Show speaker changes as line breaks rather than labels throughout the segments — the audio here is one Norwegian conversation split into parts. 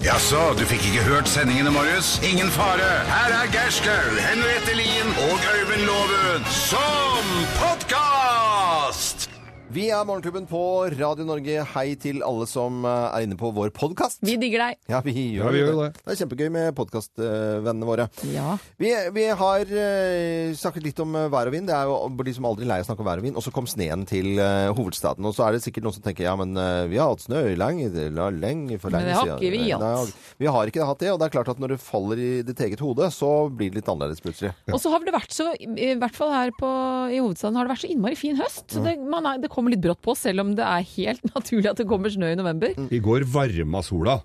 Jaså, du fikk ikke hørt sendingene, Marius? Ingen fare. Her er Gerskaug, Henriette Lien og Øyvind Loven som podkast!
Vi er Morgenklubben på Radio Norge. Hei til alle som eh, er inne på vår podkast.
Vi digger deg.
Ja, vi gjør,
Ja, vi gjør
det.
det.
Det er kjempegøy med podkastvennene våre.
Ja.
Vi, vi har eh, snakket litt om eh, vær og vind. Det er jo de som aldri er lei av å snakke om vær og vind. Og så kom sneen til eh, hovedstaden. Og så er det sikkert noen som tenker ja, men eh, vi har hatt snø i lenge, la- lenge for
Men
lenge
det har ikke vi hatt.
Nei, vi har ikke hatt det. Og det er klart at når det faller i ditt eget hode, så blir det litt annerledes plutselig.
Og så har det vært så, i hvert fall her på, i hovedstaden, har det vært så innmari fin høst. Så det, man er, det kommer litt brått på, selv om det er helt naturlig at det kommer snø i november.
Mm.
I går varma sola.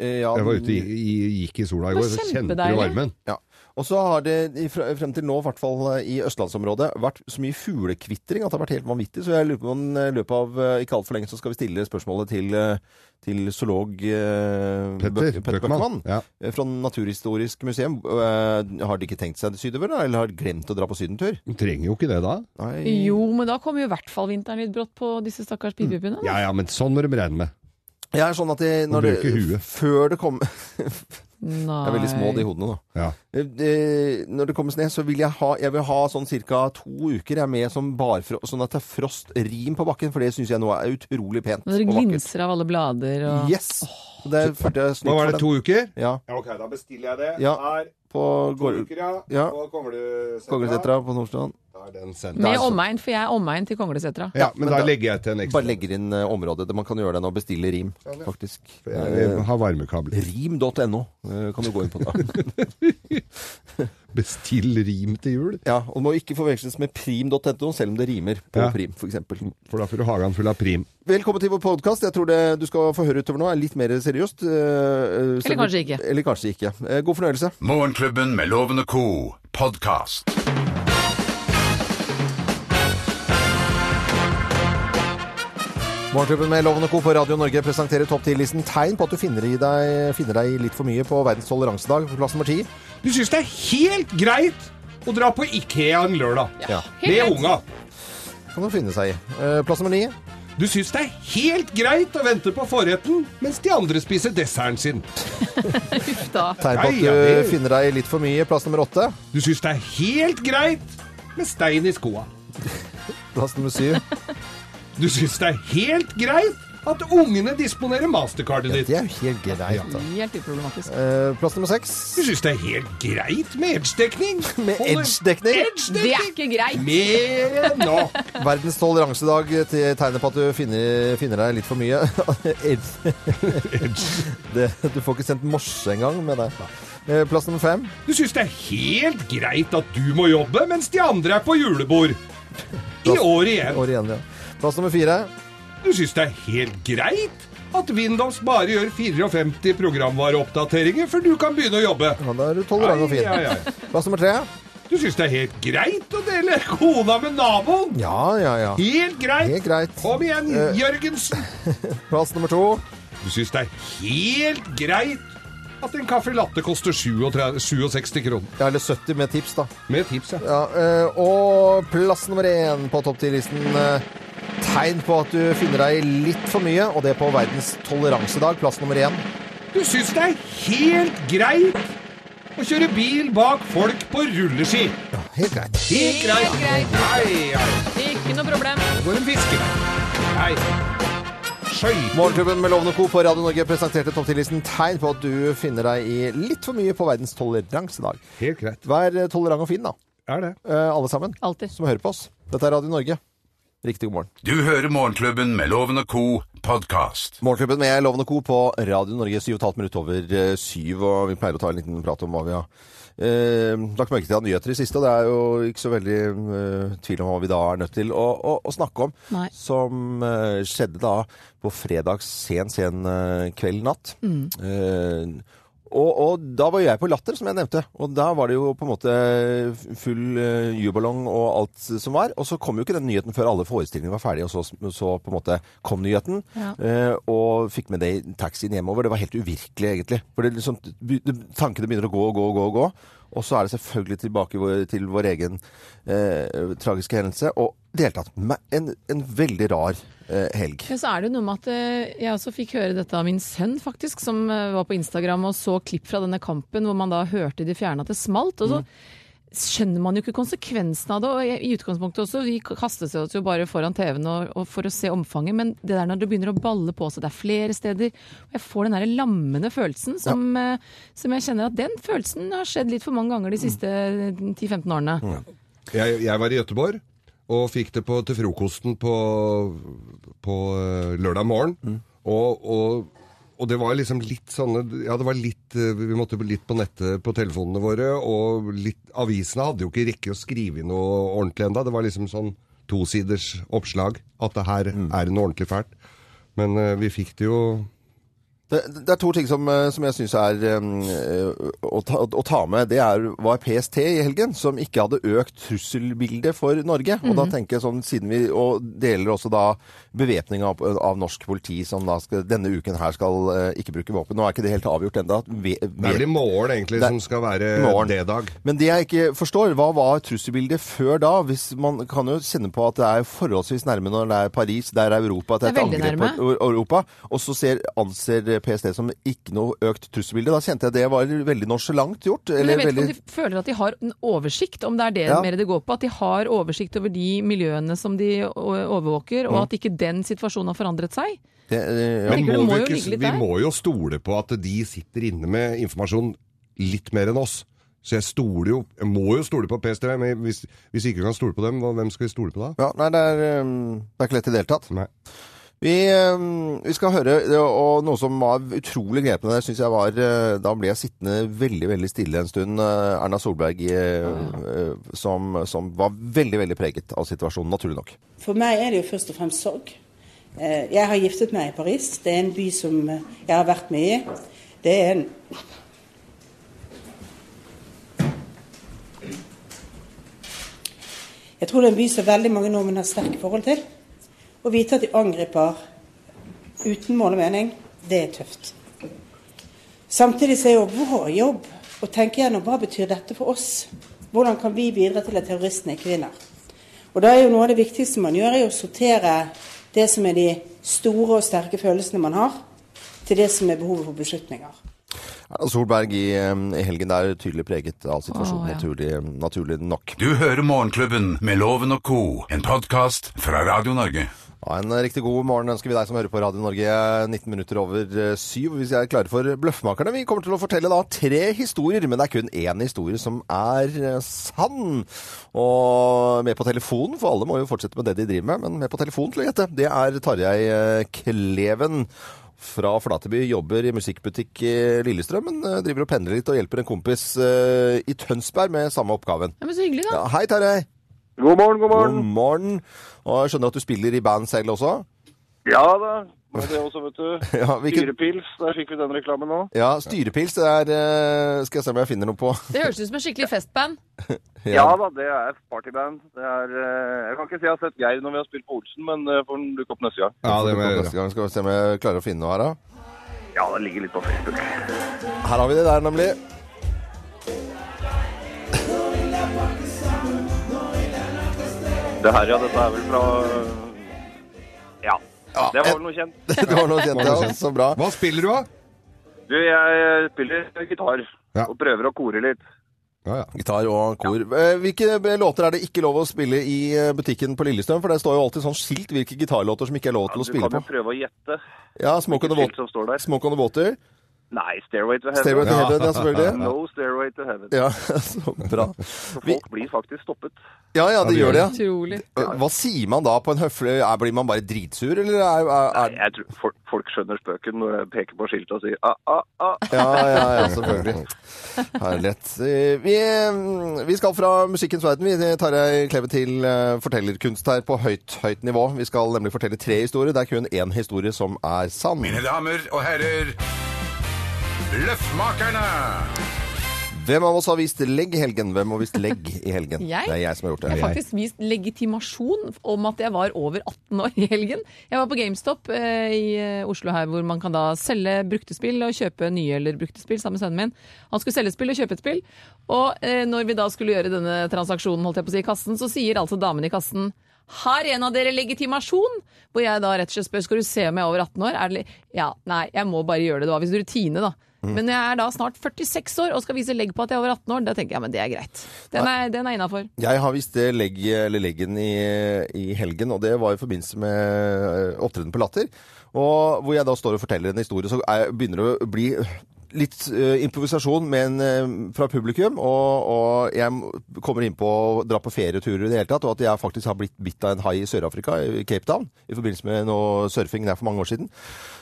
Eh, ja,
Jeg var ute i, i, gikk i sola i
Det
går,
var
så kjente du
kjempedeilig.
varmen.
Ja. Og så har det i fr- frem til nå, i hvert fall eh, i østlandsområdet, vært så mye fuglekvittring at det har vært helt vanvittig. Så jeg lurer på om i løpet av eh, ikke altfor lenge så skal vi stille spørsmålet til, eh, til zoolog eh,
Petter
Bø-
Bøckmann. Ja.
eh, fra Naturhistorisk museum. Eh, Har de ikke tenkt seg det sydover, da? Eller har glemt å dra på sydentur?
Du trenger jo ikke det da.
Nei.
Jo, men da kommer jo i hvert fall vinteren litt brått på disse stakkars
Mm.
pipipene.
Ja ja, men sånn må de regne med.
Jeg er sånn at de, når det,
bruker huet.
før det kommer
Nei.
Det er veldig små, de hodene, da.
Ja.
Eh, eh, Når det kommer snø, så vil jeg ha, jeg vil ha sånn ca. to uker jeg er med som barfrost, sånn at det er frostrim på bakken, for det syns jeg nå er utrolig pent.
Når det
og vakkert.
glinser av alle blader og
Yes! Så det følte jeg
Nå
snikk
var det to uker.
Ja,
Ja, ok, da bestiller jeg det.
Ja.
Her,
på Gård- Ja.
kommer du
Konglesetra på Nordstrand.
Da er den sendt.
Med omegn, for jeg er omegn til Konglesetra.
Ja, men,
men
da,
da-
legger jeg til en ekstra. Sånn,
Bare legger inn eh, området der man kan gjøre den, og bestille rim, faktisk. Eh,
Jeg vil ha varmekabler.
Rim.no eh, kan du gå inn på da.
Bestill rim til jul.
Ja, og det må ikke forveksles med prim.no, selv om det rimer på
Ja.
prim, f.eks.
For da får du hagen full av prim.
Velkommen til vår podkast. Jeg tror det du skal få høre utover nå er litt mer seriøst. eh, eh, selv-
kanskje ikke.
Eller kanskje ikke. Eh, God fornøyelse.
Morgenklubben med Loven og co. podkast.
Morgenklubben med Loven og Co. på Radio Norge presenterer topp 10-listen tegn på at du finner, i deg, finner deg i litt for mye på verdens toleransedag på plass nummer ti.
Du syns det er helt greit å dra på Ikea en lørdag
Ja.
med
Helt greit.
unga.
Kan du finne seg i. Eh, Plass nummer ni.
Du syns det er helt greit å vente på forretten mens de andre spiser desserten sin.
Uff da.
Tegn på at
Nei, ja,
du
det-
finner deg i litt for mye. Plass nummer åtte.
Du syns det er helt greit med stein i skoa.
Plass nummer syv.
Du syns det er helt greit at ungene disponerer mastercardet
Det
ditt.
er jo helt greit, da.
Helt uproblematisk.
Eh, Plass nummer
Du
seks.
syns det er helt greit med edge-dekning.
Med
Holder-
edge-dekning?
Det er
Edge-dekning!
ikke greit.
Mer enn nok.
Verdens toleransedag til- tegner på at du finner, finner deg litt for mye. Edge. Det, du får ikke sendt morse engang med det. Eh, Plass nummer fem.
Du syns det er helt greit at du må jobbe mens de andre er på julebord. I år igjen.
År igjen, ja. Plass nummer fire.
Du syns det er helt greit at Windows bare gjør 54 programvareoppdateringer før du kan begynne å jobbe.
Ja, da er du tolerant og fin.
Ai, ai, ai.
Plass nummer tre.
Du syns det er helt greit å dele kona med naboen?
Ja, ja, ja.
Helt greit.
Helt greit.
Kom igjen,
Eh.
Jørgensen.
Plass nummer to.
Du syns det er helt greit at en caffè latte koster 37 67 kroner.
Ja, eller 70 med tips, da.
Med tips, ja.
Ja, eh, og plass nummer én på topp 10-listen. eh, Tegn på at du finner deg i litt for mye, og det på verdens toleransedag. Plass nummer én.
Du syns det er helt greit å kjøre bil bak folk på rulleski.
Helt greit.
Helt greit.
greit.
Nei, nei.
Ikke noe problem.
Nå går en fiskevei. Nei. Skøyter.
Morgenklubben med Lovende Co. på Radio Norge presenterte topp 10-listen tegn på at du finner deg i litt for mye på verdens toleransedag.
Helt greit.
Vær eh, tolerant og fin, da.
Er det.
eh, Alle sammen
Alltid.
som hører på oss. Dette er Radio Norge. Riktig god morgen.
Du hører Morgenklubben med Loven og co. podkast.
Morgenklubben med Loven og Co. på Radio Norge, 7,5 minutter over eh, syv, og vi pleier å ta en liten prat om hva vi har eh, lagt merke til av nyheter i siste, og det er jo ikke så veldig eh, tvil om hva vi da er nødt til å, å, å snakke om,
Nei.
som eh, skjedde da på fredags sen, sen eh, kveld natt. Eh, og, og da var jeg på Latter, som jeg nevnte. Og da var det jo på en måte full eh, jubalong og alt som var. Og så kom jo ikke den nyheten før alle forestillingene var ferdige, og så, så på en måte kom nyheten.
Ja.
eh, og fikk med det i taxien hjemover. Det var helt uvirkelig, egentlig. For det er liksom, be- det- tankene begynner å gå og gå og gå. Og gå. Og så er det selvfølgelig tilbake vår, til vår egen eh, tragiske hendelse. Og i det hele tatt me- en, en veldig rar eh, helg.
Ja, så er det jo noe med at eh, jeg også fikk høre dette av min sønn, faktisk, som eh, var på Instagram og så klipp fra denne kampen hvor man da hørte de fjerne at det smalt. og så skjønner man jo ikke konsekvensen av det. og jeg- I utgangspunktet også, vi kastet oss jo bare foran TV-en og, og for å se omfanget, men det der når det begynner å balle på seg, det er flere steder, og jeg får den der lammende følelsen som, eh, som jeg kjenner at den følelsen har skjedd litt for mange ganger de siste 10-15 årene.
Jeg, jeg var i Gøteborg og fikk det på, til frokosten på, på eh, lørdag morgen.
Mm.
Og, og, og det var liksom litt sånne Ja, det var litt eh, Vi måtte litt på nettet på telefonene våre, og litt, avisene hadde jo ikke rekke å skrive inn noe ordentlig enda. Det var liksom sånn tosiders oppslag at det her
Mm.
er noe ordentlig fælt. Men eh, vi fikk det jo
Det, det er to ting som, eh, som jeg syns er eh, å, ta, å ta med. Det er, var PST i helgen, som ikke hadde økt trusselbildet for Norge. Og da tenker jeg sånn, siden vi og deler også da bevæpninga av, av norsk politi, som da skal, denne uken her skal eh, ikke bruke våpen. Nå er ikke det helt avgjort ennå.
Det er vel i morgen egentlig
Det-
som skal være
i morgen.
D-dag.
Men det jeg ikke forstår, hva var trusselbildet før da? Hvis man kan jo kjenne på at det er forholdsvis nærme når det er Paris, der er Europa, at det er et
Det er veldig
angrep på Europa, og så ser, anser PST som ikke noe økt trusselbilde. Da kjente jeg det var veldig nonsjalant gjort.
Men
Eller
jeg vet
veldig...
ikke om de føler at de har en oversikt, om det er det
Ja.
mer det går på. At de har oversikt over de miljøene som de o- overvåker,
Mm.
og at ikke den situasjonen har forandret seg.
Det, eh, ja.
Men-
Men må
tenker det må
vi,
jo
ikke,
ligge litt
vi
der.
må jo stole på at de sitter inne med informasjon litt mer enn oss. Så jeg, stoler jo, jeg må jo stole på PST, men hvis, hvis vi ikke kan stole på dem, hva- hvem skal vi stole på da?
Ja, nei, det er, eh, det er ikke lett i det hele tatt.
Nei.
Vi, eh, vi skal høre det, og noe som var utrolig grepende. Jeg synes jeg var, eh, da ble jeg sittende veldig veldig stille en stund. eh, Erna Solberg eh,
Ah.
eh, som, som var veldig veldig preget av situasjonen, naturlig nok.
For meg er det jo først og fremst sorg. Eh, Jeg har giftet meg i Paris. Det er en by som eh, jeg har vært mye i. Det er en Jeg tror det er en by som veldig mange nordmenn har sterke forhold til. Å vite at de angriper uten mål og mening, det er tøft. Samtidig så er jo vår jobb å tenke gjennom hva betyr dette for oss? Hvordan kan vi bidra til at terroristene ikke vinner? Og da er jo noe av det viktigste man gjør, er å sortere det som er de store og sterke følelsene man har, til det som er behovet for beslutninger.
Erna Solberg i, eh, i helgen der tydelig preget av situasjonen,
Å, ja.
naturlig, naturlig nok.
Du hører Morgenklubben med Loven og Co. En podkast fra Radio Norge.
Ja, en riktig god morgen ønsker vi deg som hører på Radio Norge 19 minutter over eh, syv. Hvis jeg er klare for Bløffmakerne. Vi kommer til å fortelle da tre historier, men det er kun én historie som er eh, sann. Og med på telefonen, for alle må jo fortsette med det de driver med, men med på telefonen til å gjette, det er Tarjei eh, Kleven. Fra Flateby, jobber i musikkbutikk i Lillestrøm, men eh, driver og pendler litt og hjelper en kompis eh, i Tønsberg med samme oppgaven.
Ja, men så hyggelig, da.
Ja, hei, Tarjei.
God morgen, god
God
morgen.
morgen. Og jeg skjønner at du spiller i band selv også?
Ja da. Det er det også, vet du.
Ja, hvilken,
Dyrepils, der fikk vi den reklamen nå.
ja styrepils det er eh, Skal jeg se om jeg finner noe på.
Det høres ut som en skikkelig festband.
Ja da, det er partyband. Det er, eh, jeg kan ikke si jeg har sett Geir når vi har spilt på Olsen, men eh, får den dukke opp neste gang.
Ja, det må jeg
Neste
gjøre.
gang skal vi se om jeg klarer å finne noe her, da.
Ja, det ligger litt på Facebook.
Her har vi det der, nemlig.
Det her, ja, dette er vel fra Ja. Det
eh,
var vel noe kjent.
Det var noe kjent,
Var det
ja.
kjent?
Så bra.
Hva spiller du, da?
Du, jeg spiller gitar
Ja.
og prøver å kore litt.
Ja, ja.
Gitar og kor. Eh, Hvilke låter er det ikke lov å spille i eh, butikken på Lillestrøm? For det står jo alltid sånn skilt hvilke gitarlåter som ikke er lov
Ja,
til å
du
spille
kan jo
på.
prøve å gjette.
Ja, Smoke on the
Skilt
Water.
som står der.
Smoke on the Water.
Nei, 'Stairway to Heaven'.
Stairway to
Ja.
Heaven, ja, selvfølgelig.
No stairway to heaven.
Ja, så bra. Vi,
Folk blir faktisk stoppet.
ja, ja, det gjør det, ja.
Utrolig.
Hva sier man da på en høflig er- Blir man bare dritsur, eller er, er, er
Jeg tror folk, folk skjønner spøken når jeg peker på skiltet og sier ah, ah, ah.
Ja, ja, ja, selvfølgelig. Herlighet. Eh, Vi, vi skal fra musikkens verden. Vi tar ei kleve til eh, fortellerkunst her på høyt, høyt nivå. Vi skal nemlig fortelle tre historier. Det er kun én historie som er sann.
Mine damer og herrer, Løffmakerne!
Hvem av oss har vist legg i helgen? Hvem har vist legg i helgen?
Jeg?
Det er jeg som har gjort
Jeg
det.
har faktisk vist legitimasjon om at jeg var over 18 år i helgen. Jeg var på GameStop eh, i eh, Oslo her, hvor man kan da selge brukte spill og kjøpe nye eller brukte spill sammen med sønnen min. Han skulle selge spill og kjøpe et spill. Og eh, når vi da skulle gjøre denne transaksjonen holdt jeg på å si, i kassen, så sier altså damen i kassen Har en av dere legitimasjon? Hvor jeg da rett og slett spør skal du se om jeg er over 18 år. Er det, li- ja, nei, jeg må bare gjøre det. Det var visst rutine, da. Men når jeg er da snart 46 år og skal vise legg på at jeg er over 18 år, da tenker jeg men det er greit. Den er, den er innafor.
Jeg har visst det legg, eller leggen i, i helgen, og det var i forbindelse med eh, opptreden på Latter. Og hvor jeg da står og forteller en historie, så er, begynner det å bli litt eh, improvisasjon med en, eh, fra publikum. Og, og jeg m- kommer inn på å dra på ferieturer i det hele tatt, og at jeg faktisk har blitt bitt av en hai i Sør-Afrika, i Cape Town, i forbindelse med noe surfing der for mange år siden.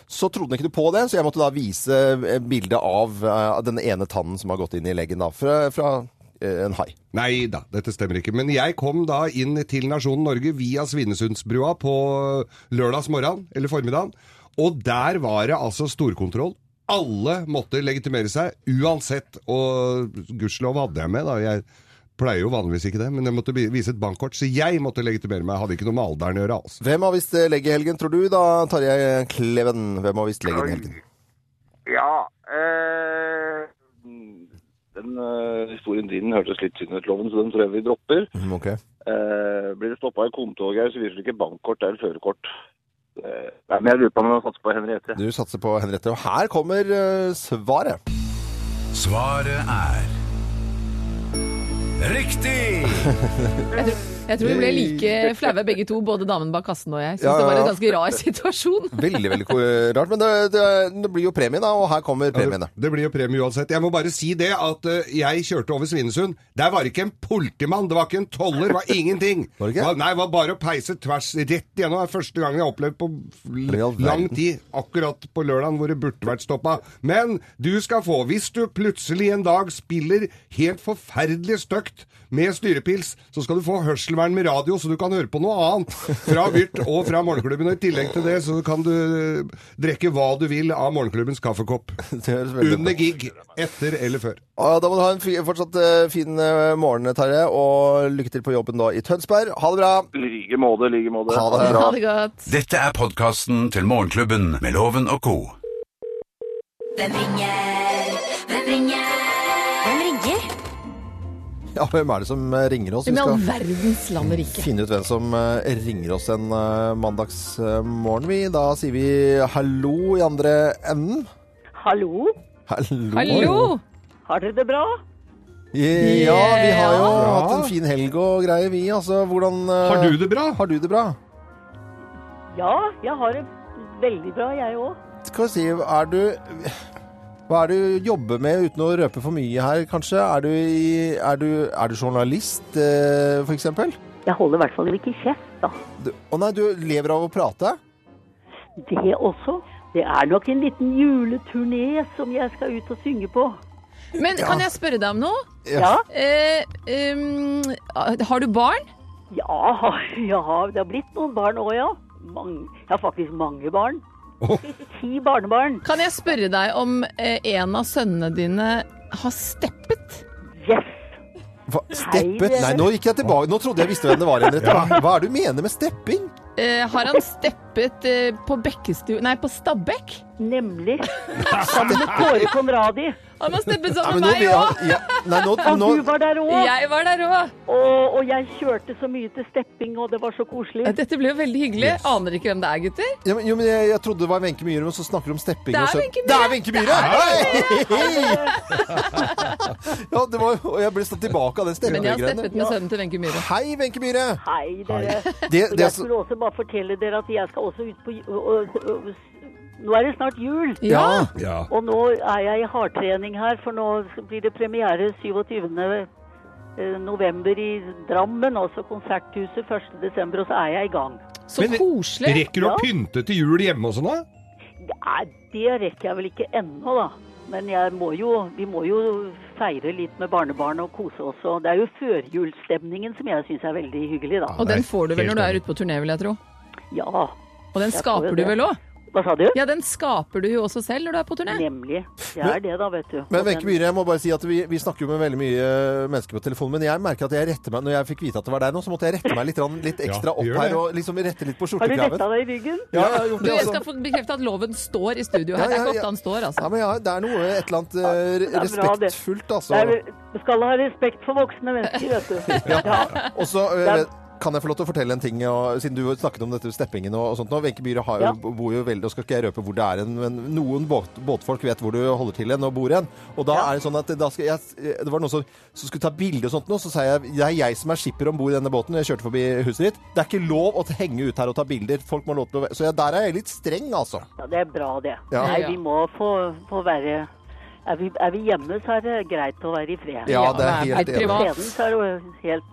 Så trodde han ikke på det, så jeg måtte da vise eh, bildet av eh, den ene tannen som har gått inn i leggen da, fra, fra eh, en hai.
Nei da, dette stemmer ikke. Men jeg kom da inn til nasjonen Norge via Svinesundsbrua på lørdags morgen, eller formiddagen. Og der var det altså storkontroll. Alle måtte legitimere seg uansett. Og gudskjelov hadde jeg med, da. Jeg pleier jo vanligvis ikke det, men jeg måtte bi- vise et bankkort, så jeg måtte legitimere meg. Jeg hadde ikke noe med alderen å gjøre, altså.
Hvem har visst legg i helgen, tror du da, Tarjei Kleven? Hvem har visst legg i helgen?
Ja eh, Den eh, historien din hørtes litt tynn ut, Loven, så den tror jeg vi dropper.
Mm, ok.
Eh, blir det stoppa i kontoget her, så viser det ikke bankkort eller førerkort. Eh, nei, men jeg lurer på om jeg satser på Henriette.
Du satser på Henriette. Og her kommer eh, svaret.
Svaret er Riktig!
Jeg tror vi ble like flaue begge to, både damen bak kassen og jeg. Syns
Ja,
det var
ja,
en
ja.
ganske rar situasjon.
Veldig, veldig ko- rart, men det, det, det blir jo premie, da. Og her kommer premiene.
Det blir jo premie uansett. Jeg må bare si det at eh, jeg kjørte over Svinesund. Der var det ikke en politimann, det var ikke en toller, det var ingenting.
Var det ikke?
nei, det var bare å peise tvers rett igjennom. Det er første gangen jeg har opplevd på
i all
l-
verden.
lang tid, akkurat på lørdagen hvor det burde vært stoppa. Men du skal få, hvis du plutselig en dag spiller helt forferdelig støkt med styrepils, så skal du få hørselvern med radio, så du kan høre på noe annet fra Vyrt og fra morgenklubben. Og i tillegg til det så kan du eh, drikke hva du vil av morgenklubbens kaffekopp.
Det høres veldig bra
Under
ut.
gig, etter eller før.
Og Da må du ha en fi- fortsatt eh, fin eh, morgen, Tarjei, og lykke til på jobben da i Tønsberg. Ha det bra!
I like måte, i like måte.
Ha det.
Ha det godt.
Dette er podkasten til Morgenklubben med Loven og co.
Hvem ringer? Hvem ringer? Hvem ringer?
Ja, hvem er det som eh, ringer oss? Vi
Hvem i all
skal
verdens land og rike?
finne ut hvem som eh, ringer oss en eh, mandagsmorgen, vi. Da sier vi hallo i andre enden.
Hallo,
Hallo!
Hallo!
har dere det bra?
Ja, vi har jo
Ja.
hatt en fin helg og greier, vi. Altså, hvordan eh,
Har du det bra?
har du det bra?
Ja, jeg har det veldig bra, jeg òg.
Skal vi si, er du Hva er det du jobber med, uten å røpe for mye her, kanskje? Er du, i, er du, er du journalist, eh, for eksempel?
Jeg holder i hvert fall ikke kjeft, da.
Du- Å nei, du lever av å prate?
Det også. Det er nok en liten juleturné som jeg skal ut og synge på.
Men kan jeg spørre deg om noe?
Ja,
Eh, um, har du barn?
ja, ja det har blitt noen barn òg, ja. Mange, jeg har faktisk mange barn. Ti barnebarn.
Kan jeg spørre deg om eh, en av sønnene dine har steppet?
Yes!
Hva, steppet?
dere.
Nei, nå gikk jeg tilbake. Nå trodde jeg visste hvem det var, Henriette. Hva, hva er det du mener med stepping?
Eh, har han steppet eh, på Bekkestua Nei, på Stabekk?
Nemlig. Sammen med Kåre Conradi.
Han har
Nei,
steppet sammen
nå
med
vil
meg
jeg-
òg!
ja, nei, nå,
Og
nå
du var der òg.
Jeg var der òg!
Og, og jeg kjørte så mye til stepping, og det var så koselig.
Dette blir jo veldig hyggelig. Aner ikke hvem det er, gutter.
ja, men, Jo, men jeg, jeg trodde det var Wenche Myhre, men så snakker du om stepping.
Det er
og så-
Wenche Myhre!
Det er Wenche Myhre! Hei! ja, det var, og jeg ble stått tilbake av den
Men jeg har steppet
steppinggreiene.
med sønnen til Wenche Myhre.
Hei, Wenche Myhre!
Hei, dere.
Det,
Og
det,
jeg
som-
skulle også bare fortelle dere at jeg skal også ut på ju- og- og- og- Nå er det snart jul,
Ja!
Ja.
og nå er jeg i hardtrening her, for nå blir det premiere 27. eh, november i Drammen, også Konserthuset 1. desember, og så er jeg i gang.
Så
Men-
koselig.
Rekker du å pynte til jul hjemme og sånn, da?
Ja, det rekker jeg vel ikke ennå, da. Men jeg må jo, vi må jo feire litt med barnebarn og kose oss. Og det er jo førjulsstemningen som jeg syns er veldig hyggelig, da.
Og den får du vel
Helt
når du er
enig.
ute på turné, vil jeg tro.
Ja.
Og den
Jeg
skaper du
tror det.
vel òg?
Hva sa du?
Ja, den skaper du jo også selv når du er på turné.
Nemlig. Det er det, da, vet du.
Men
Og
Wenche
den-
Myhre, jeg må bare si at vi, vi snakker jo med veldig mye mennesker på telefonen, men jeg merker at jeg retter meg Når jeg fikk vite at det var deg nå, så måtte jeg rette meg litt, grann- litt ekstra
Ja,
opp
gjør det.
her og liksom rette litt på
Har du letta
skjortekraven.
deg i ryggen?
Ja, jeg har gjort
Du,
det,
jeg
altså.
skal få bekrefte at loven står i studio her.
Ja,
Det er
ja,
ikke
ja.
ofte han står,
Ja,
altså.
men ja, det er noe et eller annet eh,
det er bra, det.
respektfullt,
Det
altså.
er, du skal ha respekt for voksne mennesker, vet du. Ja.
Og så eh,
Det er,
vet- Kan jeg få lov til å fortelle en ting, og, siden du snakket om dette med steppingen og, og sånt nå. Wenche Myhre har jo-
Ja.
bor jo veldig, og skal ikke jeg røpe hvor det er, hen, men noen båt, båtfolk vet hvor du holder til hen og bor hen. Og da er det sånn at da skal jeg, det var noen som, som skulle ta bilde og sånt nå, så sa jeg det er jeg som er skipper om bord i denne båten, jeg kjørte forbi huset ditt. Det er ikke lov å henge ut her og ta bilder, folk må ha lov til å Så jeg, der er jeg litt streng, altså.
Ja, det er bra, det.
Ja.
Nei, vi må få, få være er vi, er vi hjemme, så er det greit å være i fred.
Ja, det
det
er
er
helt
litt
enig.
privat.
Freden, så er det jo helt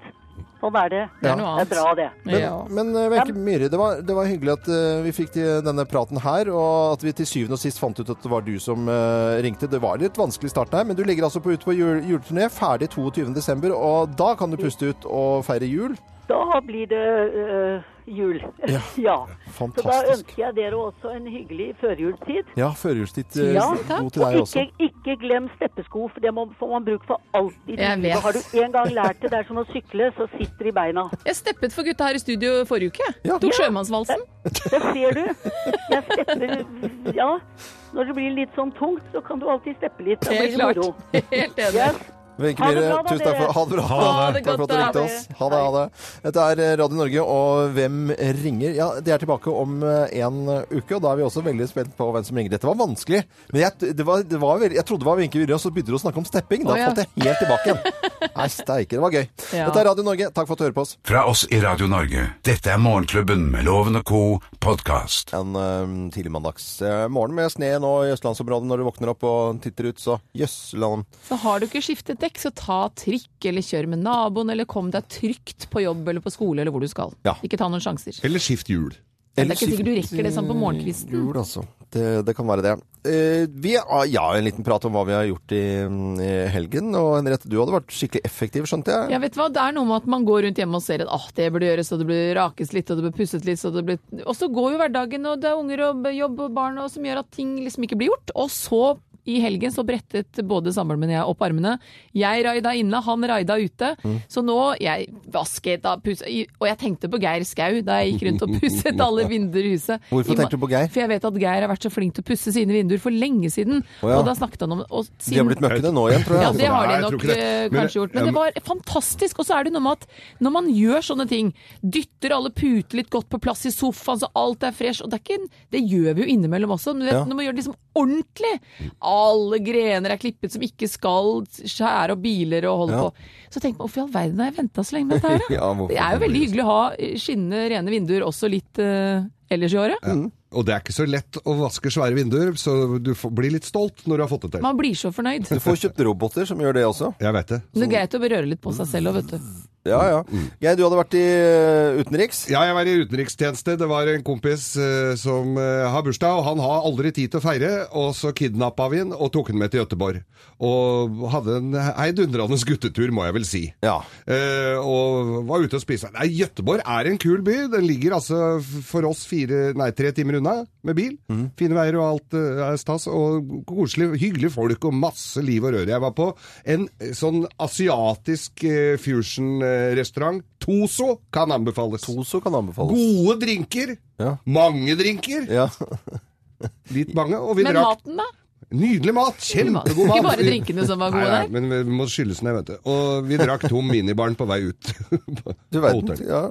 Sånn er det.
Det er noe annet.
Det er bra, det.
Men,
Ja.
men eh, Wenche Myhre, det var, det var hyggelig at eh, vi fikk til denne praten her, og at vi til syvende og sist fant ut at det var du som eh, ringte. Det var litt vanskelig start her, men du ligger altså på, ute på jul, juleturné, ferdig 22. desember, og da kan du puste ut og feire jul.
Da blir det øh, jul. Ja. Så da
Fantastisk.
ønsker jeg dere også en hyggelig førjulstid.
Ja, førjulstid eh,
Ja,
god til
Og
deg også.
ikke, ikke glem steppesko, for det må, får man bruk for alltid.
Jeg vet.
Har du en gang lært det, det er som å sykle, så sitter det i beina.
Jeg steppet for gutta her i studio forrige uke.
Ja.
Tok sjømannsvalsen.
Det ser du. Jeg stepper Ja. Når det blir litt sånn tungt, så kan du alltid steppe litt. Da
Helt
blir det moro.
klart. Helt enig.
Yes.
Wenche
Ha det
Myhre,
bra, da,
tusen takk for
dere.
Ha det bra.
Ha det
Takk for
godt,
at du
da.
ringte oss. Ha det, ha det. Dette er eh, Radio Norge, og hvem ringer? Ja, De er tilbake om eh, en uke, og da er vi også veldig spent på hvem som ringer. Dette var vanskelig, men jeg, det var, det var veldig, jeg trodde det var Wenche Myhre, og så begynte du å snakke om stepping. Da
Å, ja.
falt jeg helt tilbake igjen. Nei, steike, det var gøy.
Ja.
Dette er Radio Norge, takk for at du hører på oss.
Fra oss i Radio Norge. Dette er Morgenklubben med Loven og co. podkast.
En eh, tidlig mandags eh, morgen med snø nå i østlandsområdet når du våkner opp og titter ut, så jøsseland.
Så har du ikke skiftet dekk, så ta trikk eller kjør med naboen, eller kom deg trygt på jobb eller på skole eller hvor du skal.
Ja.
Ikke ta noen sjanser.
Eller skift hjul.
Det er ikke sikkert du rekker det sånn på morgenkvisten.
Jo, altså. Det, det kan være det. Eh, vi har ja, en liten prat om hva vi har gjort i, i helgen. Og Henriette, du hadde vært skikkelig effektiv, skjønte jeg.
Ja, vet du hva? Det er noe med at man går rundt hjemme og ser at ah, det burde gjøres, og det burde rakes litt, og det burde pusset litt, så det burde... Og så går jo hverdagen, og det er unger og jobb og barn og som gjør at ting liksom ikke blir gjort. Og så i helgen så brettet både samboeren min og jeg opp armene. Jeg raida inne, han raida ute.
Mm.
Så nå jeg vasket da, pusset, og jeg tenkte på Geir Skau da jeg gikk rundt og pusset alle vinduer i huset.
Hvorfor
I ma-
tenkte du på Geir?
For jeg vet at Geir har vært så flink til å pusse sine vinduer for lenge siden.
Å ja.
Og da snakket han om
De
og
har
siden-
blitt møkkene nå igjen, tror jeg.
ja, det har
Altså, Nei,
de
jeg tror
nok
ikke det.
eh,
Men-
kanskje gjort. Men det var fantastisk. Og så er det noe med at når man gjør sånne ting, dytter alle puter litt godt på plass i sofaen så alt er fresh, og det, er ikke, en- det gjør vi jo innimellom også. Men du vet,
Ja.
når man gjør det liksom ordentlig, alle grener er klippet som ikke skal skjære og biler og holde
Ja.
på, så tenker man hvorfor i all verden har jeg venta så lenge med dette her, da?
Ja, hvorfor
det er jo veldig hyggelig å ha eh, skinnende rene vinduer også litt eh, ellers i året.
Og det er ikke så lett å vaske svære vinduer, så du får, blir litt stolt når du har fått det til.
Man blir så fornøyd.
Du får kjøpt roboter som gjør det også.
Jeg vet det.
Det er greit å berøre litt på seg selv òg, vet du.
Ja, ja. Geir, du hadde vært i eh, utenriks.
Ja, jeg var i utenrikstjeneste. Det var en kompis eh, som eh, har bursdag, og han har aldri tid til å feire. Og så kidnappa vi han og tok han med til Gøteborg. Og hadde en heidundrende guttetur, må jeg vel si.
Ja.
Eh, og var ute og spiste. Nei, Gøteborg er en kul by. Den ligger altså f- for oss fire, nei, tre timer unna med bil.
Mhm.
Fine veier og alt eh, er stas. Og koselig, hyggelige folk og masse liv og røre. Jeg var på en eh, sånn asiatisk eh, fusion-restaurant. Toso kan anbefales.
Toso kan anbefales.
Gode drinker.
Ja.
Mange drinker.
Ja.
Litt mange. Og vi
Men
drakk
maten, da?
nydelig mat. Kjempegod mat.
Ikke bare drinkene som var gode
Nei,
der.
nei, men vi må skyldes ned, vet du. Og vi drakk tom minibaren på vei ut.
Du
På
verden.
hotellet.
Ja.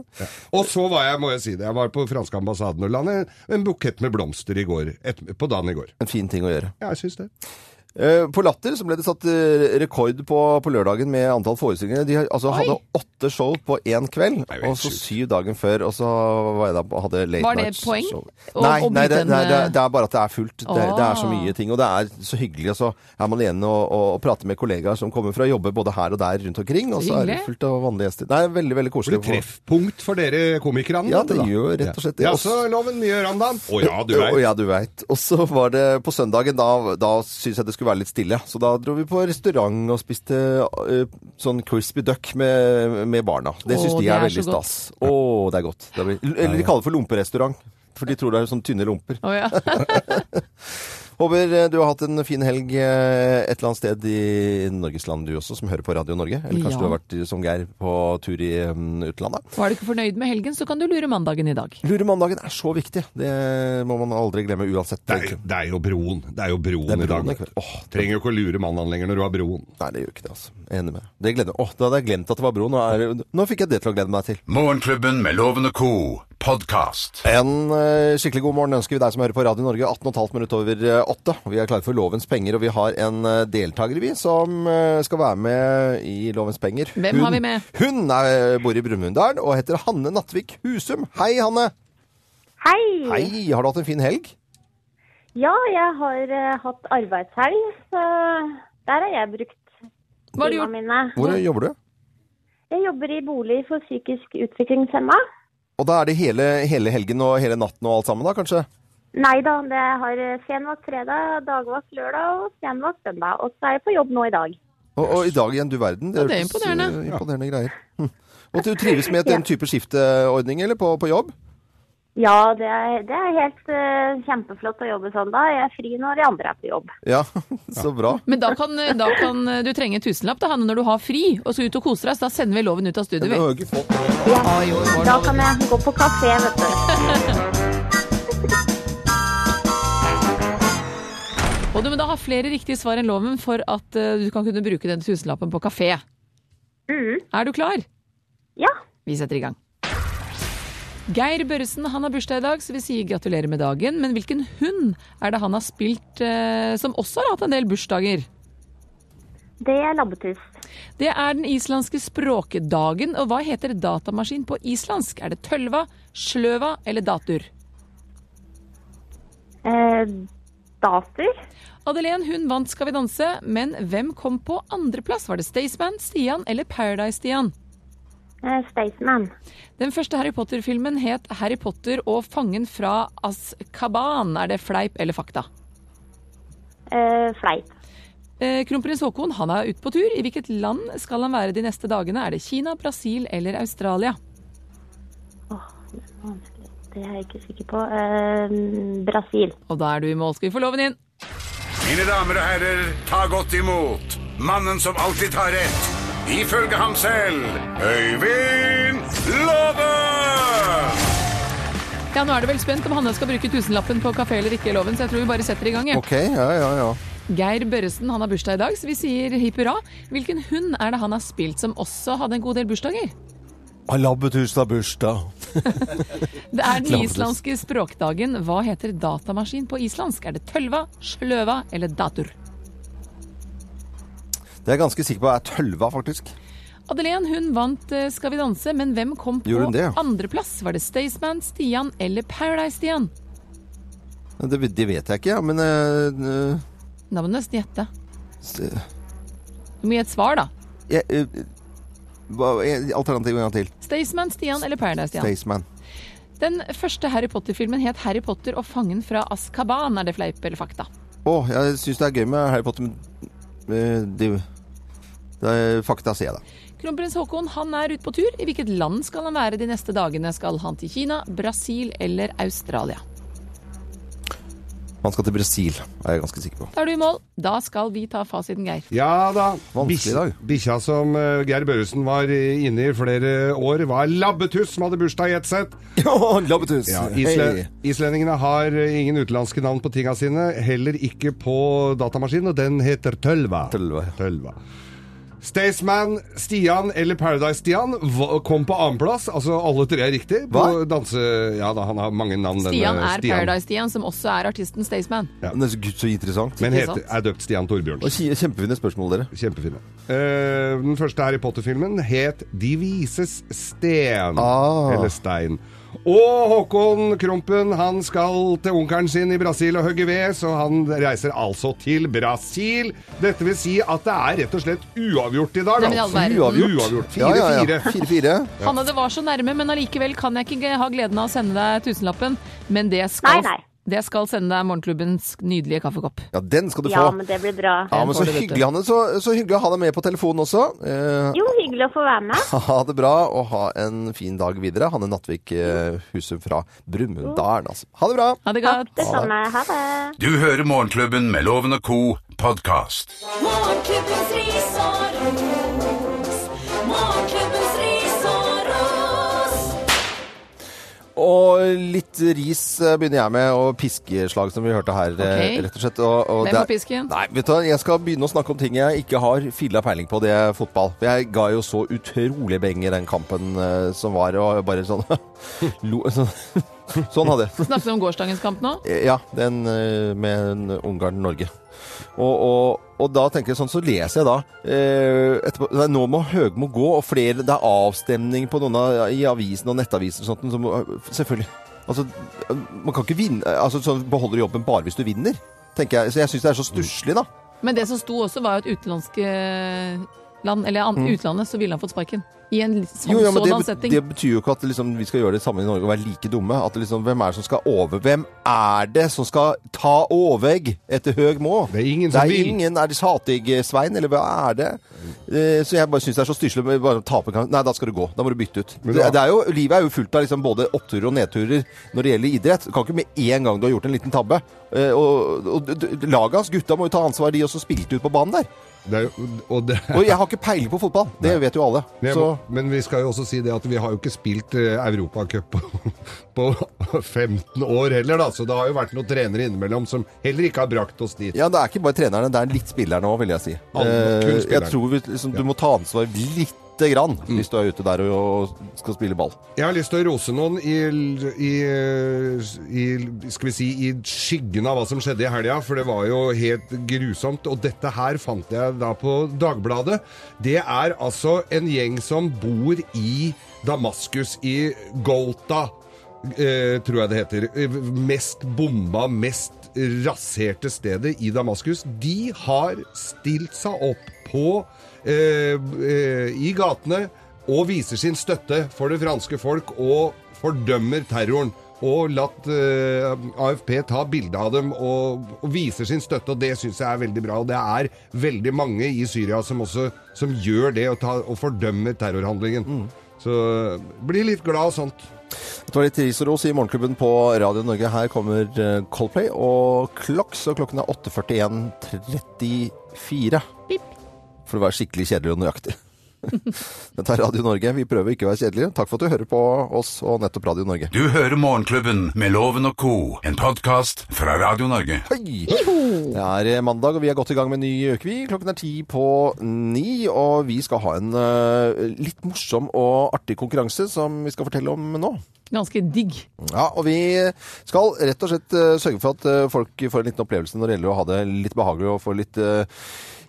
Og så var jeg, må jeg si det, jeg var på franske ambassaden og landet en bukett med blomster i går, et, på dagen i går.
En fin ting å gjøre.
Ja, jeg syns det.
Eh, På Latter så ble det satt eh, rekord på, på lørdagen med antall forestillinger. De har- altså,
Oi.
hadde åtte show på én kveld,
er jo helt
og så
sjukt.
syv dagen før. Og så var jeg da, hadde late
Var det
night
poeng?
show.
Å-
Nei,
å
nei
bryte
det,
en,
nei, det,
eh,
det er bare at det er fullt. Det, det er så
Ah.
mye ting. Og det er så hyggelig. Og så er man igjen og, og, og prater med kollegaer som kommer fra å jobbe både her og der rundt omkring. Og så er det
Hyggelig.
fullt av vanlige gjester. Det er veldig, veldig
Blir
koselig.
det treffpunkt for dere komikerne?
Ja, det
da?
gjør jo rett og slett det.
Ja, så loven mye gjør han da? Å ja, du
Å,
veit.
ja, du vet. Og så var det på søndagen, da, da syntes jeg det skulle være litt stille. Så da dro vi på restaurant og spiste eh, sånn crispy duck med, med barna. Det syns
Å,
de
det
er,
er
veldig
så godt.
stas. Å, det er godt. Det er, vel- eller de kaller det for lomperestaurant. For de tror det er sånn tynne lomper.
Å ja.
Håper eh, du har hatt en fin helg eh, et eller annet sted i Norges land du også, som hører på Radio Norge. Eller kanskje
Ja.
du har vært eh, som Geir på tur i mm, utlandet.
Var du ikke fornøyd med helgen, så kan du lure mandagen i dag.
Luremandagen er så viktig. Det må man aldri glemme uansett.
Det er, det er jo broen. Det er jo broen,
Det er broen,
i
ikke
dag.
sant? Åh,
Trenger jo ikke å lure mannen lenger når du har broen.
Nei, det gjør ikke det, altså. Jeg er Enig med deg. Det glemmer jeg. Åh, da hadde jeg glemt at det var bro. Nå, er, det- nå fikk jeg det til å glede meg til.
Morgenklubben med Loven og Co. Podcast.
En eh, skikkelig god morgen ønsker vi deg som hører på Radio Norge. 18,5 minutter over eh, åtte. Vi er klare for Lovens penger, og vi har en eh, deltaker vi som eh, skal være med i Lovens penger.
Hvem har vi med?
Hun er, eh, bor i Brumunddal og heter Hanne Nattvik Husum. Hei, Hanne!
Hei!
Hei, har du hatt en fin helg?
Ja, jeg har eh, hatt arbeidshelg, så der har jeg brukt
Hva har
timene
du gjort?
mine.
Hvor jobber du?
Jeg jobber i bolig for psykisk utviklingshemma.
Og da er det hele, hele helgen og hele natten og alt sammen da, kanskje?
Nei da, det har eh, senvakt fredag, dagvakt lørdag og senvakt søndag. Og så er jeg på jobb nå i dag.
Og, og i dag igjen, du verden.
Ja, det er
hørtes,
imponerende.
eh, imponerende greier. Hm. Og du trives med den type skifteordning, eller, på, på jobb?
Ja, det er, det er helt eh, kjempeflott å jobbe sånn da. Jeg er fri når de andre er på jobb.
Ja, så bra.
Men da kan, da kan eh, du trenge en tusenlapp da, Hanne, når du har fri og skal ut og kose deg. Så da sender vi loven ut av
Men
studio.
du
vi.
har jo ikke fått
Oi, oi, oi.
Da kan jeg gå på kafé, vet du.
Og du må da ha flere riktige svar enn loven for at eh, du kan kunne bruke den tusenlappen på kafé. Er du klar?
Ja.
Vi setter i gang. Geir Børresen han har bursdag i dag, så vi sier gratulerer med dagen. Men hvilken hund er det han har spilt eh, som også har hatt en del bursdager?
Det er labbetuss.
Det er den islandske språkdagen, og hva heter datamaskin på islandsk? Er det tølva, sløva eller datur?
Eh, dater.
Adelén hun vant Skal vi danse, men hvem kom på andreplass? Var det Staysman, Stian eller Paradise-Stian?
Eh, Staysman.
Den første Harry Potter-filmen het 'Harry Potter og fangen fra Azkaban'. Er det fleip eller fakta?
Eh, fleip.
Eh, Kronprins Haakon han er ute på tur. I hvilket land skal han være de neste dagene? Er det Kina, Brasil eller Australia?
Åh, det er vanskelig. Det er jeg ikke sikker på. Eh, Brasil.
Og da er du i mål. Skal vi få loven inn?
Mine damer og herrer, ta godt imot mannen som alltid tar rett. Ifølge ham selv Øyvind Låve!
Ja, Nå er det vel spent om Hanne skal bruke tusenlappen på kafé eller ikke i loven, så jeg tror vi bare setter i gang. jeg.
Ok, ja, ja, ja.
Geir Børresen han har bursdag i dag, så vi sier hipp hurra. Hvilken hund er det han har spilt som også hadde en god del bursdager?
Alabbetus har bursdag.
Det er
Klarer
den
det.
islandske språkdagen. Hva heter datamaskin på islandsk? Er det tølva, sløva eller datur?
Det er jeg ganske sikker på er tølva, faktisk.
Adelén hun vant eh, Skal vi danse, men hvem kom på
Gjorde hun det, ja?
andreplass? Var det Staysman, Stian eller Paradise-Stian?
Det, det vet jeg ikke, ja, men eh, eh,
Da må du nesten gjette.
s-
Du må gi et svar, da.
jeg, eh, hva- eh, Alternativet en gang til.
Staysman, Stian eller Paradise-Stian?
Staysman.
Den første Harry Potter-filmen het 'Harry Potter og fangen fra Azkaban'. Er det fleip eller fakta?
Å, jeg syns det er gøy med Harry Potter, men eh, det, det er fakta, sier jeg da.
Kronprins Haakon han er ute på tur. I hvilket land skal han være de neste dagene? Skal han til Kina, Brasil eller Australia?
Man skal til Brasil, er jeg ganske sikker på.
Da er du i mål. Da skal vi ta fasiten, Geir.
Ja da.
Vanskelig
Bis-
dag.
Bikkja som eh, Geir Børresen var eh, inne i flere år, var Labbetuss som hadde bursdag i ett sett.
Ja, Labbetus!
Ja,
Hei.
isle, islendingene har eh, ingen utenlandske navn på tinga sine, heller ikke på datamaskinen, og den heter Tølva.
Tølva.
Tølva. Staysman, Stian eller Paradise-Stian va- kom på annenplass. Altså alle tre er riktig. På
Hva?
danse... Ja da, han har mange navn. denne
Stian er Paradise-Stian, som også er artisten Staysman.
Men det er så, gud, så interessant.
Men
Ikke
heter,
sant?
er døpt Stian Torbjørn.
Og kje- Kjempefine spørsmål, dere.
Kjempefine. Eh, den første Harry Potter-filmen het De vises sten.
Ah.
Eller stein. Og Håkon Krompen han skal til onkelen sin i Brasil og hogge ved, så han reiser altså til Brasil. Dette vil si at det er rett og slett uavgjort i dag.
Nei, men i all verden.
Uavgjort. Uavgjort.
Ja, ja, ja.
4-4.
4-4.
Hanne, det var så nærme, men allikevel kan jeg ikke ha gleden av å sende deg tusenlappen. Men det
Nei,
skal
nei.
Det skal sende deg morgenklubbens nydelige kaffekopp.
Ja, den skal du
Ja,
få.
men det blir bra.
Ja, men så
får du, vet du.
hyggelig, Hanne. Så, så hyggelig å ha deg med på telefonen også. Eh,
Jo, hyggelig å få være med.
ha det bra, og ha en fin dag videre. Hanne Nattvik eh, Husum fra Brumunddalen, altså. Ha det bra!
Ha det godt.
Det samme. Ha det.
Du hører Morgenklubben med Loven og Co. podkast.
Morgenklubbens ris og ros. Morgenklubbens ris og ros.
Og litt ris eh, begynner jeg med, og piskeslag som vi hørte her, eh,
Ok.
rett og slett. Og, og
Hvem
det er-
får pisken?
Nei, vet du, hva, jeg skal begynne å snakke om ting jeg ikke har filla peiling på, det er fotball. For Jeg ga jo så utrolig beng i den kampen eh, som var, og bare sånn lo, sånn, sånn hadde jeg.
Snakket vi om gårsdagens kamp nå?
Ja, den eh, med en Ungarn-Norge. Og, og, og da tenker jeg sånn, så leser jeg da eh, etterpå, nei, Nå må Høgmo gå, og flere, det er avstemning på noen av, i avisen og nettaviser og sånt. Så må, selvfølgelig. Altså, man kan ikke vinne altså, sånn, Beholder jobben bare hvis du vinner, tenker jeg. Så jeg syns det er så stusslig, da.
Men det som sto også var jo et utenlandsk eh, land, eller an, utlandet, så ville han fått sparken. I en litt sånn,
Mm. Jo, ja, men det,
sådan
bet-
setting.
det betyr jo ikke at liksom, vi skal gjøre det samme i Norge og være like dumme. At liksom, hvem er det som skal over? Hvem er det som skal ta overg etter Høgmo?
Det er ingen som
Det er
vil.
ingen. Er det Satig-Svein, eller hva er det? Eh, Så jeg bare syns det er så stusslig med bare å tape kamp. Nei, da skal du gå. Da må du bytte ut.
Men
Det,
da-
det er jo, livet er jo fullt av liksom både oppturer og nedturer når det gjelder idrett. Du kan ikke med en gang du har gjort en liten tabbe. Eh, Og, og d- d- laget hans, gutta, må jo ta ansvar, de også spilte ut på banen der.
Det er, jo- og det,
Og jeg har ikke peiling på fotball. Det vet jo alle.
Men jeg
Så
må- Men vi skal jo også si det at vi har jo ikke spilt eh, Europacup på, på 15 år heller, da. Så det har jo vært noen trenere innimellom som heller ikke har brakt oss dit.
Ja, det er ikke bare trenerne, det er litt spillerne òg, vil jeg si.
Alle, kun
Eh, jeg
spillerne.
tror vi, liksom, du må ta ansvar lite grann hvis du er ute der og, og skal spille ball.
Jeg har lyst til å rose noen i, i, eh, i Skal vi si i skyggen av hva som skjedde i helga, for det var jo helt grusomt. Og dette her fant jeg da på Dagbladet. Det er altså en gjeng som bor i Damaskus, i Golta, eh, tror jeg det heter. Eh, Mest bomba, mest raserte stedet i Damaskus. De har stilt seg opp på eh, eh, i gatene og viser sin støtte for det franske folk og fordømmer terroren. Og latt eh, AFP ta bilde av dem og, og viser sin støtte, og det syns jeg er veldig bra. Og det er veldig mange i Syria som også som gjør det og, ta, og fordømmer terrorhandlingen. Så bli litt glad av sånt.
Det var litt ris og ros i Morgenklubben på Radio Norge. Her kommer eh, Coldplay og Clocks, og klokken er 8.41.34. For å være skikkelig kjedelig og nøyaktig. Dette er Radio Norge. Vi prøver ikke å være kjedelige. Takk for at du hører på oss og nettopp Radio Norge.
Du hører Morgenklubben med Loven og Co., en podkast fra Radio Norge.
Hei! Det er eh, mandag, og vi er godt i gang med en ny uke. vi. Klokken er ti på ni, og vi skal ha en eh, litt morsom og artig konkurranse som vi skal fortelle om nå.
Ganske digg.
Ja, og vi skal rett og slett eh, sørge for at eh, folk får en liten opplevelse når det gjelder å ha det litt behagelig og få litt eh,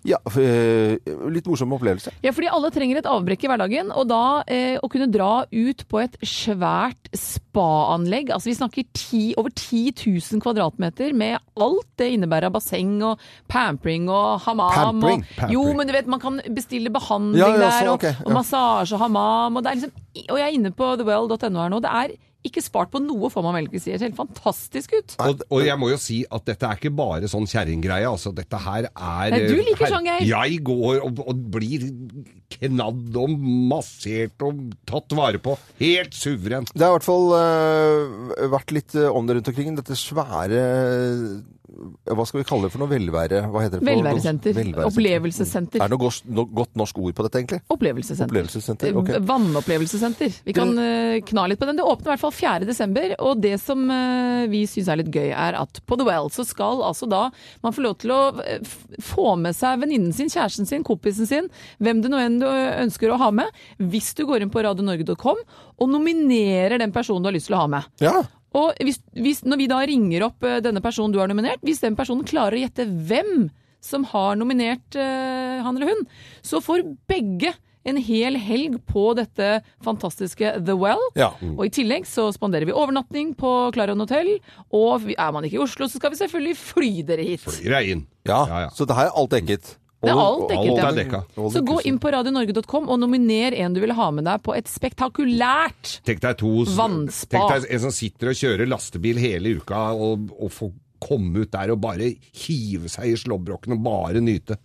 ja, eh, litt morsom opplevelse.
Ja, fordi alle trenger et avbrekk i hverdagen, og da eh, å kunne dra ut på et svært spa-anlegg, altså vi snakker ti, over 10 000 kvadratmeter med alt det innebærer av basseng og pampering og hamam.
Pampering?
og,
Pampering.
Jo, men du vet, man kan bestille behandling
Ja, ja,
der,
så,
og,
ok, ja.
og massasje og hamam, og, det er liksom, og jeg er inne på thewell.no her nå, det er ikke spart på noe, får man vel ikke si. Det ser helt fantastisk ut.
Og, og jeg må jo si at dette er ikke bare sånn kjerringgreie. Altså, dette her er eh,
Nei, du liker
her-
sånn, Geir.
Jeg går og, og blir knadd og massert og tatt vare på. Helt suverent.
Det har i hvert fall eh, vært litt eh, om det rundt omkring. Dette svære eh, Hva skal vi kalle det for noe? Velvære? Hva heter det? for-
Velværesenter.
Velværesenter.
Opplevelsessenter.
Er det noe gos- no- godt norsk ord på dette, egentlig?
Opplevelsessenter.
Opplevelsessenter, ok.
Eh, Vannopplevelsessenter. Vi kan eh, kna litt på den. Det åpner i hvert fall 4. desember, og det som eh, vi syns er litt gøy, er at på The Well så skal altså da man få lov til å eh, f- få med seg venninnen sin, kjæresten sin, kompisen sin, hvem det nå enn du ønsker å ha med, hvis du går inn på radionorge.com og nominerer den personen du har lyst til å ha med.
Ja.
Og hvis, hvis, når vi da ringer opp eh, denne personen du har nominert, hvis den personen klarer å gjette hvem som har nominert eh, han eller hun, så får begge en hel helg på dette fantastiske The Well.
Ja.
Og i tillegg så spanderer vi overnatting på Clarion Hotel. Og vi- er man ikke i Oslo, så skal vi selvfølgelig fly dere hit.
Rein.
Ja,
Ja, ja.
så det her er alt dekket.
Det er alt dekket,
Alt er
ja.
dekka.
Så gå inn på radionorge.com og nominer en du vil ha med deg på et spektakulært
Tenk deg to
Vannspa.
Tenk deg en som sitter og kjører lastebil hele uka og, og får komme ut der og bare hive seg i slåbroken og bare nyte.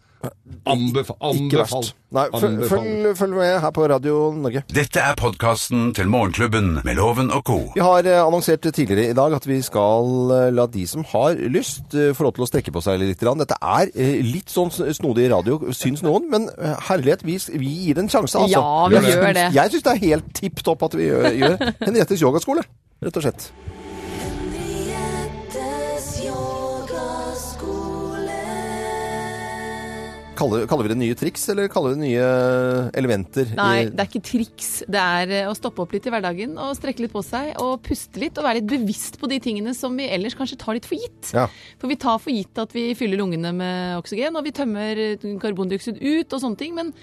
Anbefal.
Ikke
anbefal.
verst. Nei, følg,
anbefal.
følg, følg med her på Radio Norge.
Dette er podkasten til Morgenklubben med Loven og co.
Vi har eh, annonsert tidligere i dag at vi skal eh, la de som har lyst, eh, få lov til å strekke på seg litt. grann. Dette er eh, litt sånn s- snodig radio, syns noen, men eh, herlighet, vi, s- vi gir det en sjanse, altså.
Ja, vi
Jeg
gjør
syns-
det.
Jeg syns det er helt tipp topp at vi gjør, gjør Henriettes yogaskole, rett og slett.
Henriettes yogaskole.
Kaller, kaller vi det nye triks, eller kaller vi det nye eh, elementer?
Nei,
i-
det er ikke triks. Det er eh, å stoppe opp litt i hverdagen og strekke litt på seg og puste litt og være litt bevisst på de tingene som vi ellers kanskje tar litt for gitt.
Ja.
For vi tar for gitt at vi fyller lungene med oksygen og vi tømmer eh, karbondioksid ut og sånne ting, men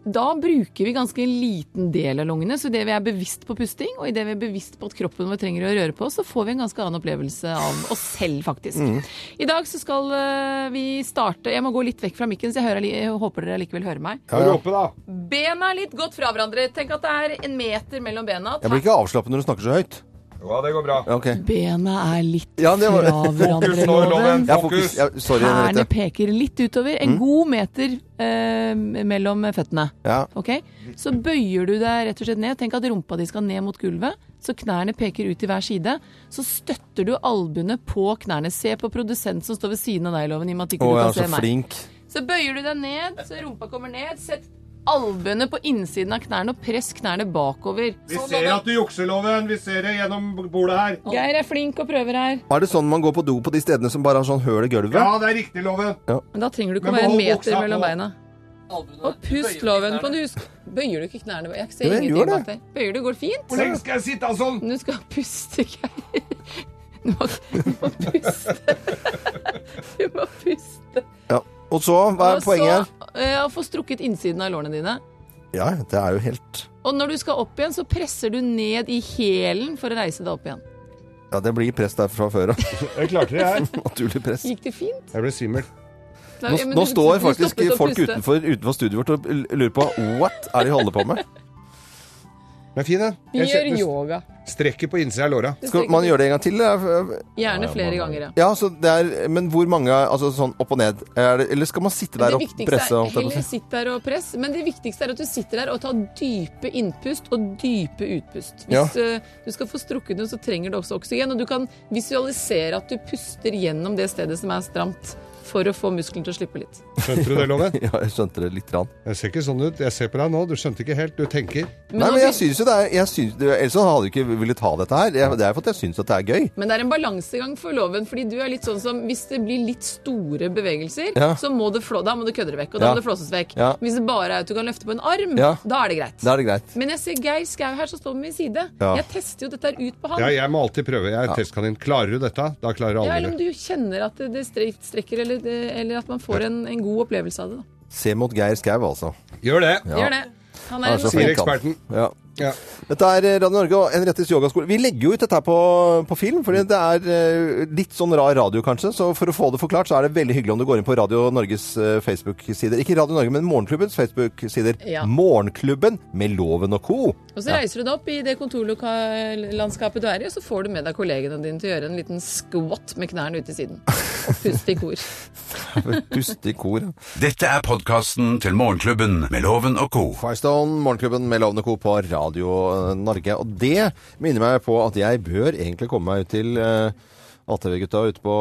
da bruker vi ganske en liten del av lungene. Så idet vi er bevisst på pusting, og idet vi er bevisst på at kroppen vår trenger å røre på, så får vi en ganske annen opplevelse av oss selv, faktisk.
Mm.
I dag så skal eh, vi starte Jeg må gå litt vekk fra mikken, så jeg, hører, jeg håper dere likevel hører meg. Bena litt godt fra hverandre. Tenk at det er en meter mellom bena.
Jeg blir ikke avslappet når du snakker så høyt.
Ja, det går bra.
Sånn
Ja, ok.
Bena er litt
Ja, det var-
fra hverandre,
Fokus nå, Loven.
loven.
Jeg er fokus.
Fokus.
Jeg, sorry,
Tærne
Henriette.
peker litt utover. En
Mm.
god meter eh, mellom føttene.
Ja.
Ok? Så bøyer du deg rett og slett ned. Tenk at rumpa di skal ned mot gulvet, så knærne peker ut i hver side. Så støtter du albuene på knærne. Se på produsenten som står ved siden av deg, Loven. I og med
Å,
at ikke du
jeg
kan
er så
se meg.
flink.
Så bøyer du deg ned, så rumpa kommer ned. Sett albuene på innsiden av knærne og press knærne bakover.
Vi ser at du jukser, Loven. Vi ser det gjennom bordet her.
Geir er flink og prøver her.
Er det sånn man går på do på de stedene som bare har sånn høl i gulvet?
Ja, det er riktig, Loven.
Men da trenger du ikke å
Men
være en
behold
meter
buksa
mellom
på.
beina. Og pust, loven. Kan du huske Bøyer du ikke knærne? Jeg ser
Jo, jeg gjør
ingenting
det.
bak deg. Bøyer du, går det fint?
Hvor lenge skal jeg sitte sånn?
Men Du skal puste, Geir. Du må, du må puste. Du må puste.
Ja. Og så, hva er
Og så,
poenget?
eh, Å få strukket innsiden av lårene dine.
Ja, det er jo helt
Og når du skal opp igjen, så presser du ned i hælen for å reise deg opp igjen.
Ja, det blir press der fra før av.
Jeg klarte det, jeg.
Naturlig press.
Gikk det fint?
Jeg ble svimmel.
Nei,
Nå,
ja, men
nå
du-
står
du
faktisk
stoppet å
folk
puste.
utenfor, utenfor studioet vårt og l- lurer på what er det de holder på med?
Men fin, den.
Vi
Jeg
gjør
kjenner-
yoga.
Strekker på innsida av låra.
Skal man gjøre det en gang til? eller?
Gjerne flere ganger, ja.
Ja, så det er, Men hvor mange altså sånn opp og ned? Er det, eller skal man sitte der
Det
og
viktigste
presse?
er,
holdt jeg på å si?
heller sitt der og press, men det viktigste er at du sitter der og tar dype innpust og dype utpust.
Ja.
Hvis eh, du skal få strukket noe, så trenger du også oksygen, og du kan visualisere at du puster gjennom det stedet som er stramt, for å få musklene til å slippe litt.
Skjønte du det, Loven?
Ja, jeg skjønte det litt. Rann.
Jeg ser ikke sånn ut. Jeg ser på deg nå. Du skjønte ikke helt. Du tenker.
Nei,
nå
men jeg
begyn-
synes jo det er jeg synes, det- Ellers så hadde du ikke villet ha dette her. Jeg- Det er for at jeg syns at det er gøy.
men det er en balansegang for loven, fordi du er litt sånn som hvis det blir litt store bevegelser,
Ja.
så må det flå, da må du kødde det vekk, og da
Ja.
må det flåses vekk.
Ja.
Hvis det bare er at du kan løfte på en arm,
Ja.
da er det greit.
Da er det greit.
Men jeg ser Geir Skau her som står ved min side.
Ja.
Jeg tester jo dette her ut på han.
Ja, jeg må alltid prøve. Jeg er testkanin. Klarer du dette? Da klarer
Ja,
alle
eller om
det.
du kjenner at det stre- strekker, eller, det, eller at man får en, en god opplevelse av det. Da.
Se mot Geir Skau, altså.
Gjør det.
Gjør det. Han
Han
er
er så
en
Sier
flink, han.
eksperten.
Ja.
Ja.
Dette er eh, Radio Norge og Henriettes yogaskole. Vi legger jo ut dette her på, på film, fordi det er eh, litt sånn rar radio, kanskje. Så for å få det forklart, så er det veldig hyggelig om du går inn på Radio Norges eh, Facebook-sider. Ikke Radio Norge, men Morgenklubbens Facebook-sider.
Ja.
Morgenklubben med Loven og co.
Og så reiser du deg opp i det kontorlandskapet du er i, og så får du med deg kollegene dine til å gjøre en liten skvatt med knærne ut til siden. Og puste i kor.
Pust i kor.
Dette er podkasten til Morgenklubben med Loven og co.
Firestone, Morgenklubben med Loven og co. på Radio eh, Norge. Og det minner meg på at jeg bør egentlig komme meg ut til eh, ATV-gutta ute på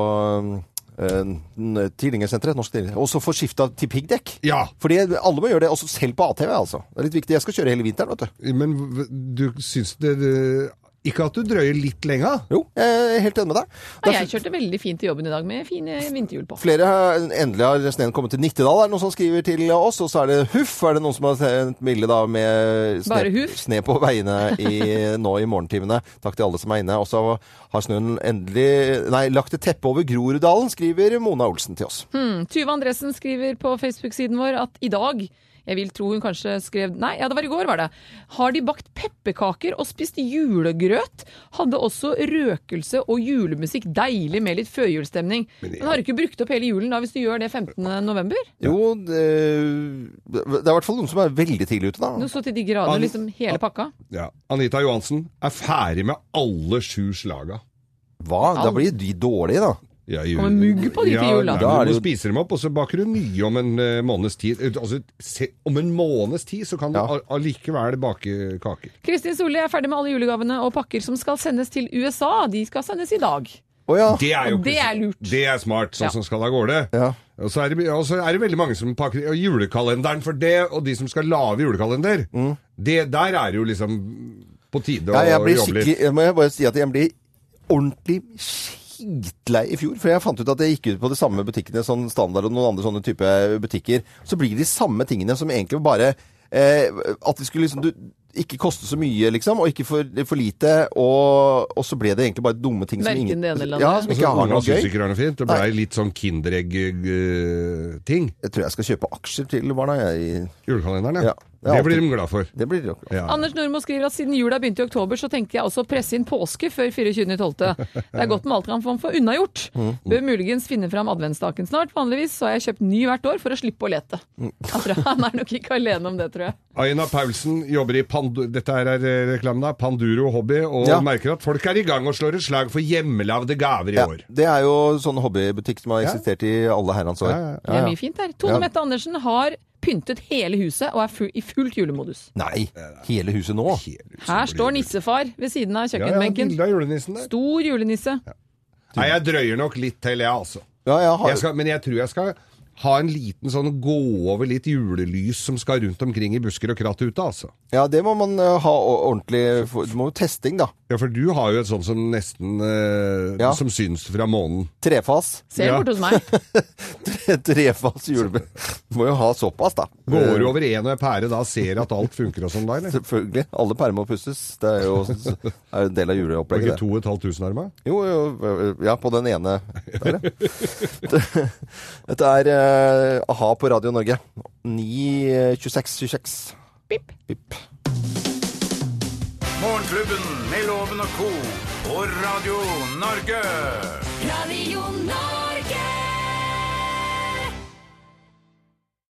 eh, n- Tidlingersenteret, Norsk Tidlinger, og så få skifta til piggdekk.
Ja.
Fordi alle må gjøre det, også selv på ATV, altså. Det er litt viktig. Jeg skal kjøre hele vinteren, vet du.
Men v- du syns det det- Ikke at du drøyer litt lenge?
Jo, jeg er helt enig med deg.
Ja, jeg kjørte veldig fint til jobben i dag med fine vinterhjul på.
Flere har endelig har sneen kommet til Nittedal, er det noen som skriver til oss. Og så er det huff, er det noen som har sendt bilde da med sne,
Bare huff?
sne på veiene i, nå i morgentimene. Takk til alle som er inne. Og så har snøen endelig Nei, lagt et teppe over
Hm.
Groruddalen, skriver Mona Olsen til oss.
Tuva Andresen skriver på Facebook-siden vår at i dag Jeg vil tro hun kanskje skrev Nei, ja, det var i går, var det. Har de bakt pepperkaker og spist julegrøt? Hadde også røkelse og julemusikk. Deilig med litt førjulsstemning.
Men
Men,
jeg-
har du ikke brukt opp hele julen da, hvis du gjør det 15. november?
Jo, det, det er i hvert fall noen som er veldig tidlig ute, da.
Nå så til de grader
An-
liksom hele pakka.
Ja. Anita Johansen er ferdig med alle sju slaga.
Hva? Da blir de dårlige, da.
Ja, i-
Kommer mugg på de til jul, da.
nei,
Da er
men
det jo-
Du spiser dem opp, og så baker du nye om en eh, måneds tid. Eh, Altså, se, om en måneds tid så kan du
Ja.
al- allikevel bake kaker.
Kristin Solli er ferdig med alle julegavene og pakker som skal sendes til USA. De skal sendes i dag.
Å ja.
Det er jo
Og det
ikke så-
er lurt.
Det er smart, sånn
Ja.
som skal av gårde.
Ja.
Og så, er det, og så er det veldig mange som pakker og julekalenderen for det, og de som skal lage julekalender. Det, der er det jo liksom på tide
Mm. Ja, jeg
å
blir
jobbe litt.
skikkelig Jeg må bare si at jeg blir ordentlig skitlei i fjor. For jeg fant ut at jeg gikk ut på de samme butikkene, sånn standard og noen andre sånne type butikker. Så blir det de samme tingene som egentlig bare eh, At det skulle liksom du, ikke koste så mye, liksom, og ikke for, for lite. Og, og så ble det egentlig bare dumme ting
Verken
som ingen
det ene eller det
Ja,
andre.
som
Og
ikke
så
har
Ola
noe
syns
gøy.
ikke det er noe fint. Det blei litt sånn eh, Kinderegg-ting.
Jeg tror jeg skal kjøpe aksjer til barna, jeg.
Julekalenderen, ja.
Ja, det er
det blir
alltid-
de glad for.
Det blir nok.
Ja.
Anders Nordmo skriver at siden jula begynte i oktober, så tenkte jeg også å presse inn påske før 24.12. Det er godt med alt man kan få unnagjort.
Mm.
Bør muligens finne fram adventsstaken snart. Vanligvis så har jeg kjøpt ny hvert år for å slippe å lete.
Mm.
Jeg tror Han er nok ikke alene om det, tror jeg.
Aina Paulsen jobber i Pandu Dette her er eh, reklamen da, Panduro Hobby, og
Ja.
merker at folk er i gang og slår et slag for hjemmelagde gaver i
Ja,
år.
det er jo sånn hobbybutikk som har eksistert i alle herrens år.
Ja, ja, ja.
Det er mye fint der. Tone
Ja.
Mette Andersen har pyntet hele huset og er fu i fullt julemodus.
Nei, hele huset nå?
Her står nissefar ved siden av
Ja, ja,
kjøkkenbenken.
bilde av julenissen der.
Stor julenisse.
Nei, jeg drøyer nok litt til, jeg, altså.
Ja, jeg har
Jeg skal, men jeg tror jeg skal ha en liten sånn gå over litt julelys som skal rundt omkring i busker og kratt ute, altså.
Ja, det må man eh, ha o- ordentlig for- Du må jo testing, da.
Ja, for du har jo et sånt som nesten eh,
Ja.
Som syns fra månen.
Trefas.
Ser
Ja.
borte hos meg.
Trefas julebø. Må jo ha såpass, da.
Går
Eh,
over en og en pære da, ser at alt funker og sånn da, eller?
Selvfølgelig. Alle pærer må pusses. Det er jo det er jo en del av
Var det
juleopplegget.
ikke
det.
to og et halvt tusen arma?
Jo, jo, ja, på den ene der, ja. Det- Dette er eh, a-ha på Radio Norge. 9.26.26.
Pip.
Pip.
Morgenklubben med Loven og co. på Radio Norge.
Radio Norge.